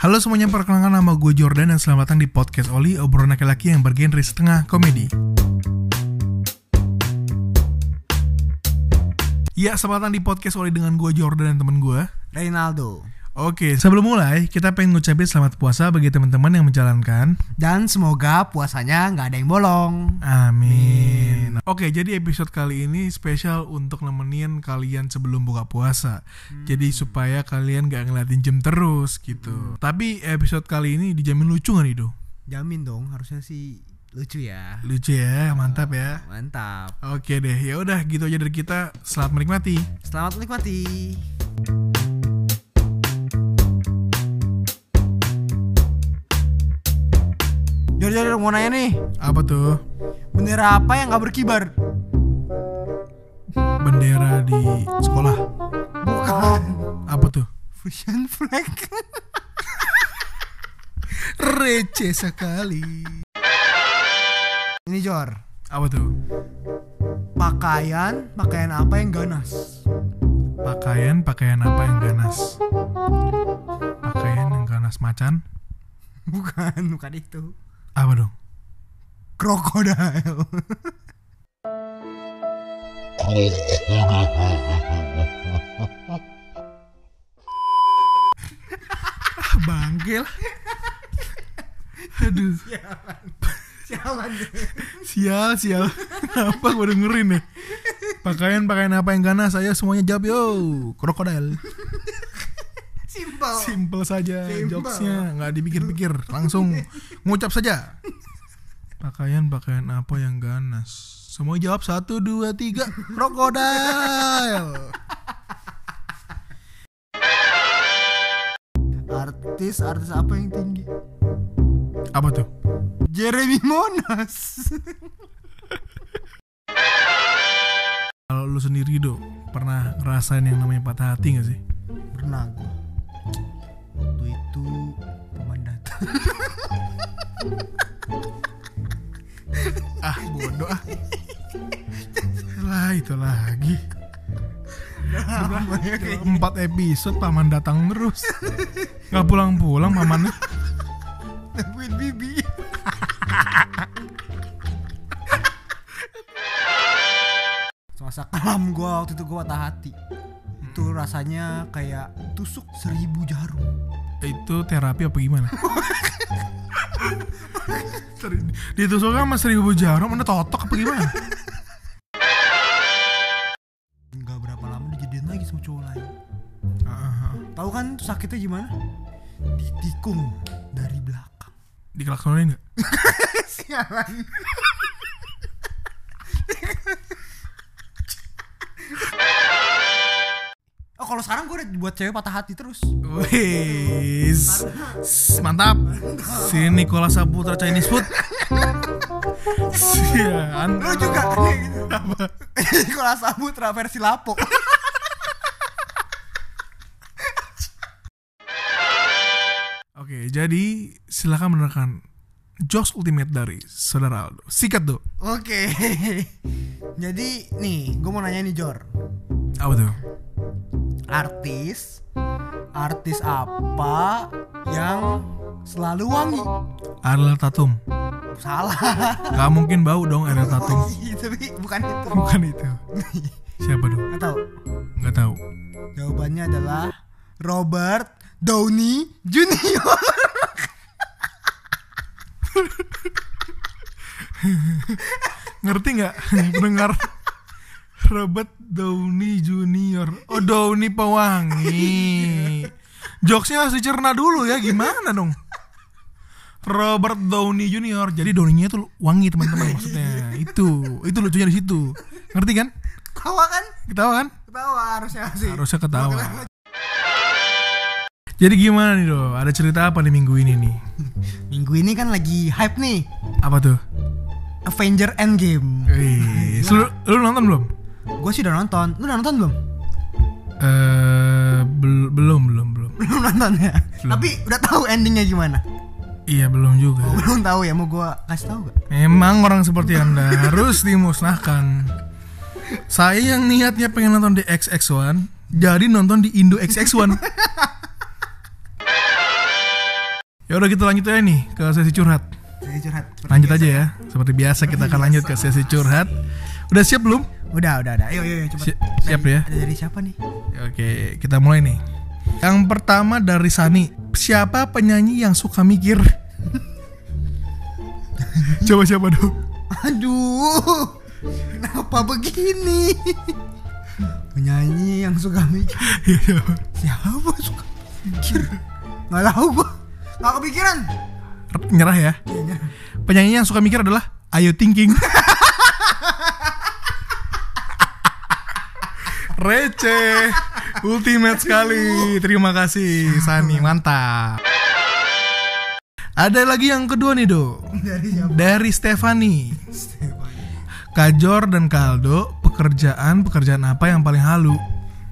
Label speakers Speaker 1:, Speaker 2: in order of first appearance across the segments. Speaker 1: Halo semuanya, perkenalkan nama gue Jordan dan selamat datang di Podcast Oli, obrolan laki-laki yang bergenre setengah komedi. Ya, selamat datang di Podcast Oli dengan gue Jordan dan temen gue.
Speaker 2: Reynaldo.
Speaker 1: Oke, sebelum mulai, kita pengen ngucapin selamat puasa bagi teman-teman yang menjalankan.
Speaker 2: Dan semoga puasanya nggak ada yang bolong.
Speaker 1: Amin. Oke, jadi episode kali ini spesial untuk nemenin kalian sebelum buka puasa. Jadi supaya kalian gak ngeliatin jam terus gitu. Tapi episode kali ini dijamin lucu gak nih, Do?
Speaker 2: Jamin dong, harusnya sih lucu ya.
Speaker 1: Lucu ya, mantap ya.
Speaker 2: Mantap.
Speaker 1: Oke deh, ya udah gitu aja dari kita. Selamat menikmati.
Speaker 2: Selamat menikmati. Jor Jor mau nanya nih,
Speaker 1: Apa tuh?
Speaker 2: bendera apa yang nggak berkibar?
Speaker 1: Bendera di sekolah.
Speaker 2: Bukan.
Speaker 1: Apa tuh?
Speaker 2: Fusion flag.
Speaker 1: Receh sekali.
Speaker 2: Ini Jor,
Speaker 1: Apa tuh?
Speaker 2: pakaian pakaian apa yang ganas?
Speaker 1: Pakaian, pakaian apa yang ganas? Pakaian yang ganas macan?
Speaker 2: Bukan, bukan itu.
Speaker 1: Apa dong?
Speaker 2: Krokodil.
Speaker 1: Ah, bangke lah. Aduh,
Speaker 2: Sialan deh.
Speaker 1: sial, sial. Kenapa gue dengerin ya? Pakaian, pakaian apa yang ganas? Ayo semuanya jawab yo. Krokodil.
Speaker 2: Simple.
Speaker 1: Simple saja
Speaker 2: Simple.
Speaker 1: jokesnya, nggak dipikir-pikir, langsung ngucap saja. Pakaian pakaian apa yang ganas? Semua jawab satu dua tiga krokodil.
Speaker 2: Artis artis apa yang tinggi?
Speaker 1: Apa tuh?
Speaker 2: Jeremy Monas.
Speaker 1: Kalau lu sendiri do pernah ngerasain yang namanya patah hati gak sih?
Speaker 2: Pernah gua. Waktu itu pemandat.
Speaker 1: Ah bodoh ah. lah itu lagi. Udah, empat episode paman datang terus. Nggak pulang-pulang pamannya.
Speaker 2: Nemuin bibi. Semasa kelam gua waktu itu gua patah hati. Itu rasanya kayak tusuk seribu jarum.
Speaker 1: itu terapi apa gimana? Seri- Ditusuk sama seribu jarum, mana totok apa gimana?
Speaker 2: Enggak berapa lama dijadiin lagi sama cowok lain.
Speaker 1: Ah, ah, ah.
Speaker 2: Tahu kan tuh sakitnya gimana? Ditikung dari belakang.
Speaker 1: Dikelaksonin nggak?
Speaker 2: Sialan. oh kalau sekarang gue udah buat cewek patah hati terus.
Speaker 1: Wis, S- mantap. Sini Nikola Saputra Chinese food. Sian.
Speaker 2: Lu juga kayak gitu. Nikola Saputra versi Lapo.
Speaker 1: Oke, jadi silakan menerangkan jokes ultimate dari saudara Aldo. Sikat do.
Speaker 2: Oke. Jadi nih, gue mau nanya nih Jor.
Speaker 1: Apa tuh?
Speaker 2: Artis artis apa yang selalu wangi?
Speaker 1: Ariel Tatum.
Speaker 2: Salah.
Speaker 1: Gak mungkin bau dong Ariel Tatum.
Speaker 2: Tapi bukan itu.
Speaker 1: Bukan itu. Siapa dong?
Speaker 2: Nggak tahu.
Speaker 1: Gak tahu.
Speaker 2: Jawabannya adalah Robert Downey Junior.
Speaker 1: ngerti nggak dengar Robert Downey Junior oh Downey pewangi jokesnya harus dicerna dulu ya gimana dong Robert Downey Junior jadi Downey-nya tuh wangi teman-teman maksudnya itu itu lucunya di situ ngerti kan
Speaker 2: Ketawa kan?
Speaker 1: ketawa kan
Speaker 2: Ketawa harusnya sih.
Speaker 1: harusnya ketawa jadi gimana nih do ada cerita apa di minggu ini nih
Speaker 2: Minggu ini kan lagi hype nih
Speaker 1: apa tuh
Speaker 2: Avenger Endgame.
Speaker 1: Wih, lu, lu nonton belum
Speaker 2: Gue sih udah nonton. Lu udah nonton belum?
Speaker 1: eh bel- belum belum belum
Speaker 2: Belum nonton ya.
Speaker 1: Belum.
Speaker 2: Tapi udah tahu endingnya gimana?
Speaker 1: iya belum juga
Speaker 2: Belum tahu ya. Mau gua kasih tahu gak?
Speaker 1: Memang orang seperti anda harus dimusnahkan. Saya yang niatnya pengen nonton di XX1, jadi nonton di Indo XX1. Ya udah kita lanjut aja nih ke sesi curhat.
Speaker 2: Saya curhat. Seperti
Speaker 1: Lanjut
Speaker 2: biasa.
Speaker 1: aja ya. Seperti biasa kita akan lanjut ke sesi curhat. Udah siap belum?
Speaker 2: Udah, udah, udah. Ayo, ayo, ayo cepet.
Speaker 1: Si- siap
Speaker 2: Dari-
Speaker 1: ya.
Speaker 2: Ada dari siapa nih?
Speaker 1: Oke, kita mulai nih. Yang pertama dari Sani. Siapa penyanyi yang suka mikir? Coba siapa dong?
Speaker 2: Aduh. Kenapa begini? Penyanyi yang suka mikir.
Speaker 1: Iya, siapa?
Speaker 2: Siapa suka mikir? Nggak tahu gua. Nggak kepikiran.
Speaker 1: Nyerah ya.
Speaker 2: Kayaknya.
Speaker 1: Penyanyi yang suka mikir adalah Ayo Thinking. Receh, ultimate sekali. Terima kasih Sani, mantap. Ada lagi yang kedua nih, Do.
Speaker 2: Dari siapa?
Speaker 1: Dari Stefani.
Speaker 2: Stefan.
Speaker 1: Kajor dan Kaldo, pekerjaan-pekerjaan apa yang paling halu?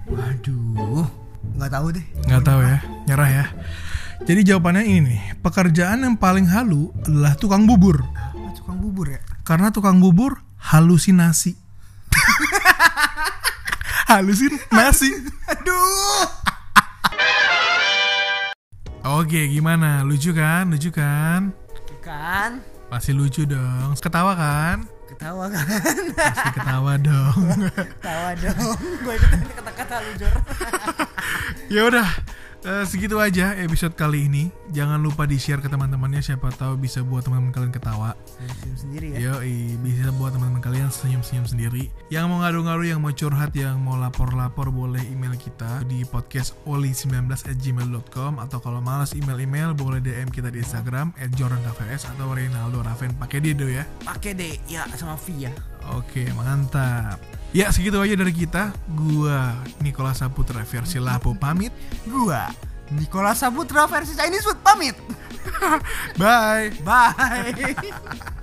Speaker 2: Waduh. Nggak tahu deh.
Speaker 1: Nggak tahu ya, nyerah ya. Jadi jawabannya ini nih, pekerjaan yang paling halu adalah tukang bubur.
Speaker 2: Apa tukang bubur ya?
Speaker 1: Karena tukang bubur halusinasi. halusinasi.
Speaker 2: Aduh.
Speaker 1: Oke, gimana? Lucu kan? Lucu kan?
Speaker 2: Kan
Speaker 1: Pasti lucu dong. Ketawa kan?
Speaker 2: ketawa kan?
Speaker 1: Pasti ketawa dong.
Speaker 2: Ketawa dong. Gue ikutin kata-kata lu Jor.
Speaker 1: ya udah eh, segitu aja episode kali ini jangan lupa di share ke teman-temannya siapa tahu bisa buat teman-teman kalian ketawa
Speaker 2: Senyum sendiri
Speaker 1: yo
Speaker 2: ya.
Speaker 1: bisa buat teman-teman kalian senyum-senyum sendiri yang mau ngadu-ngadu yang mau curhat yang mau lapor-lapor boleh email kita di podcast oli19@gmail.com atau kalau malas email-email boleh dm kita di instagram at atau Reynaldo Raven pakai dedo ya
Speaker 2: Pakai deh ya sama Via.
Speaker 1: Oke, mantap. Ya, segitu aja dari kita. Gua Nicola Saputra versi Lapo pamit.
Speaker 2: Gua Nicola Saputra versi Chinese food pamit.
Speaker 1: Bye.
Speaker 2: Bye.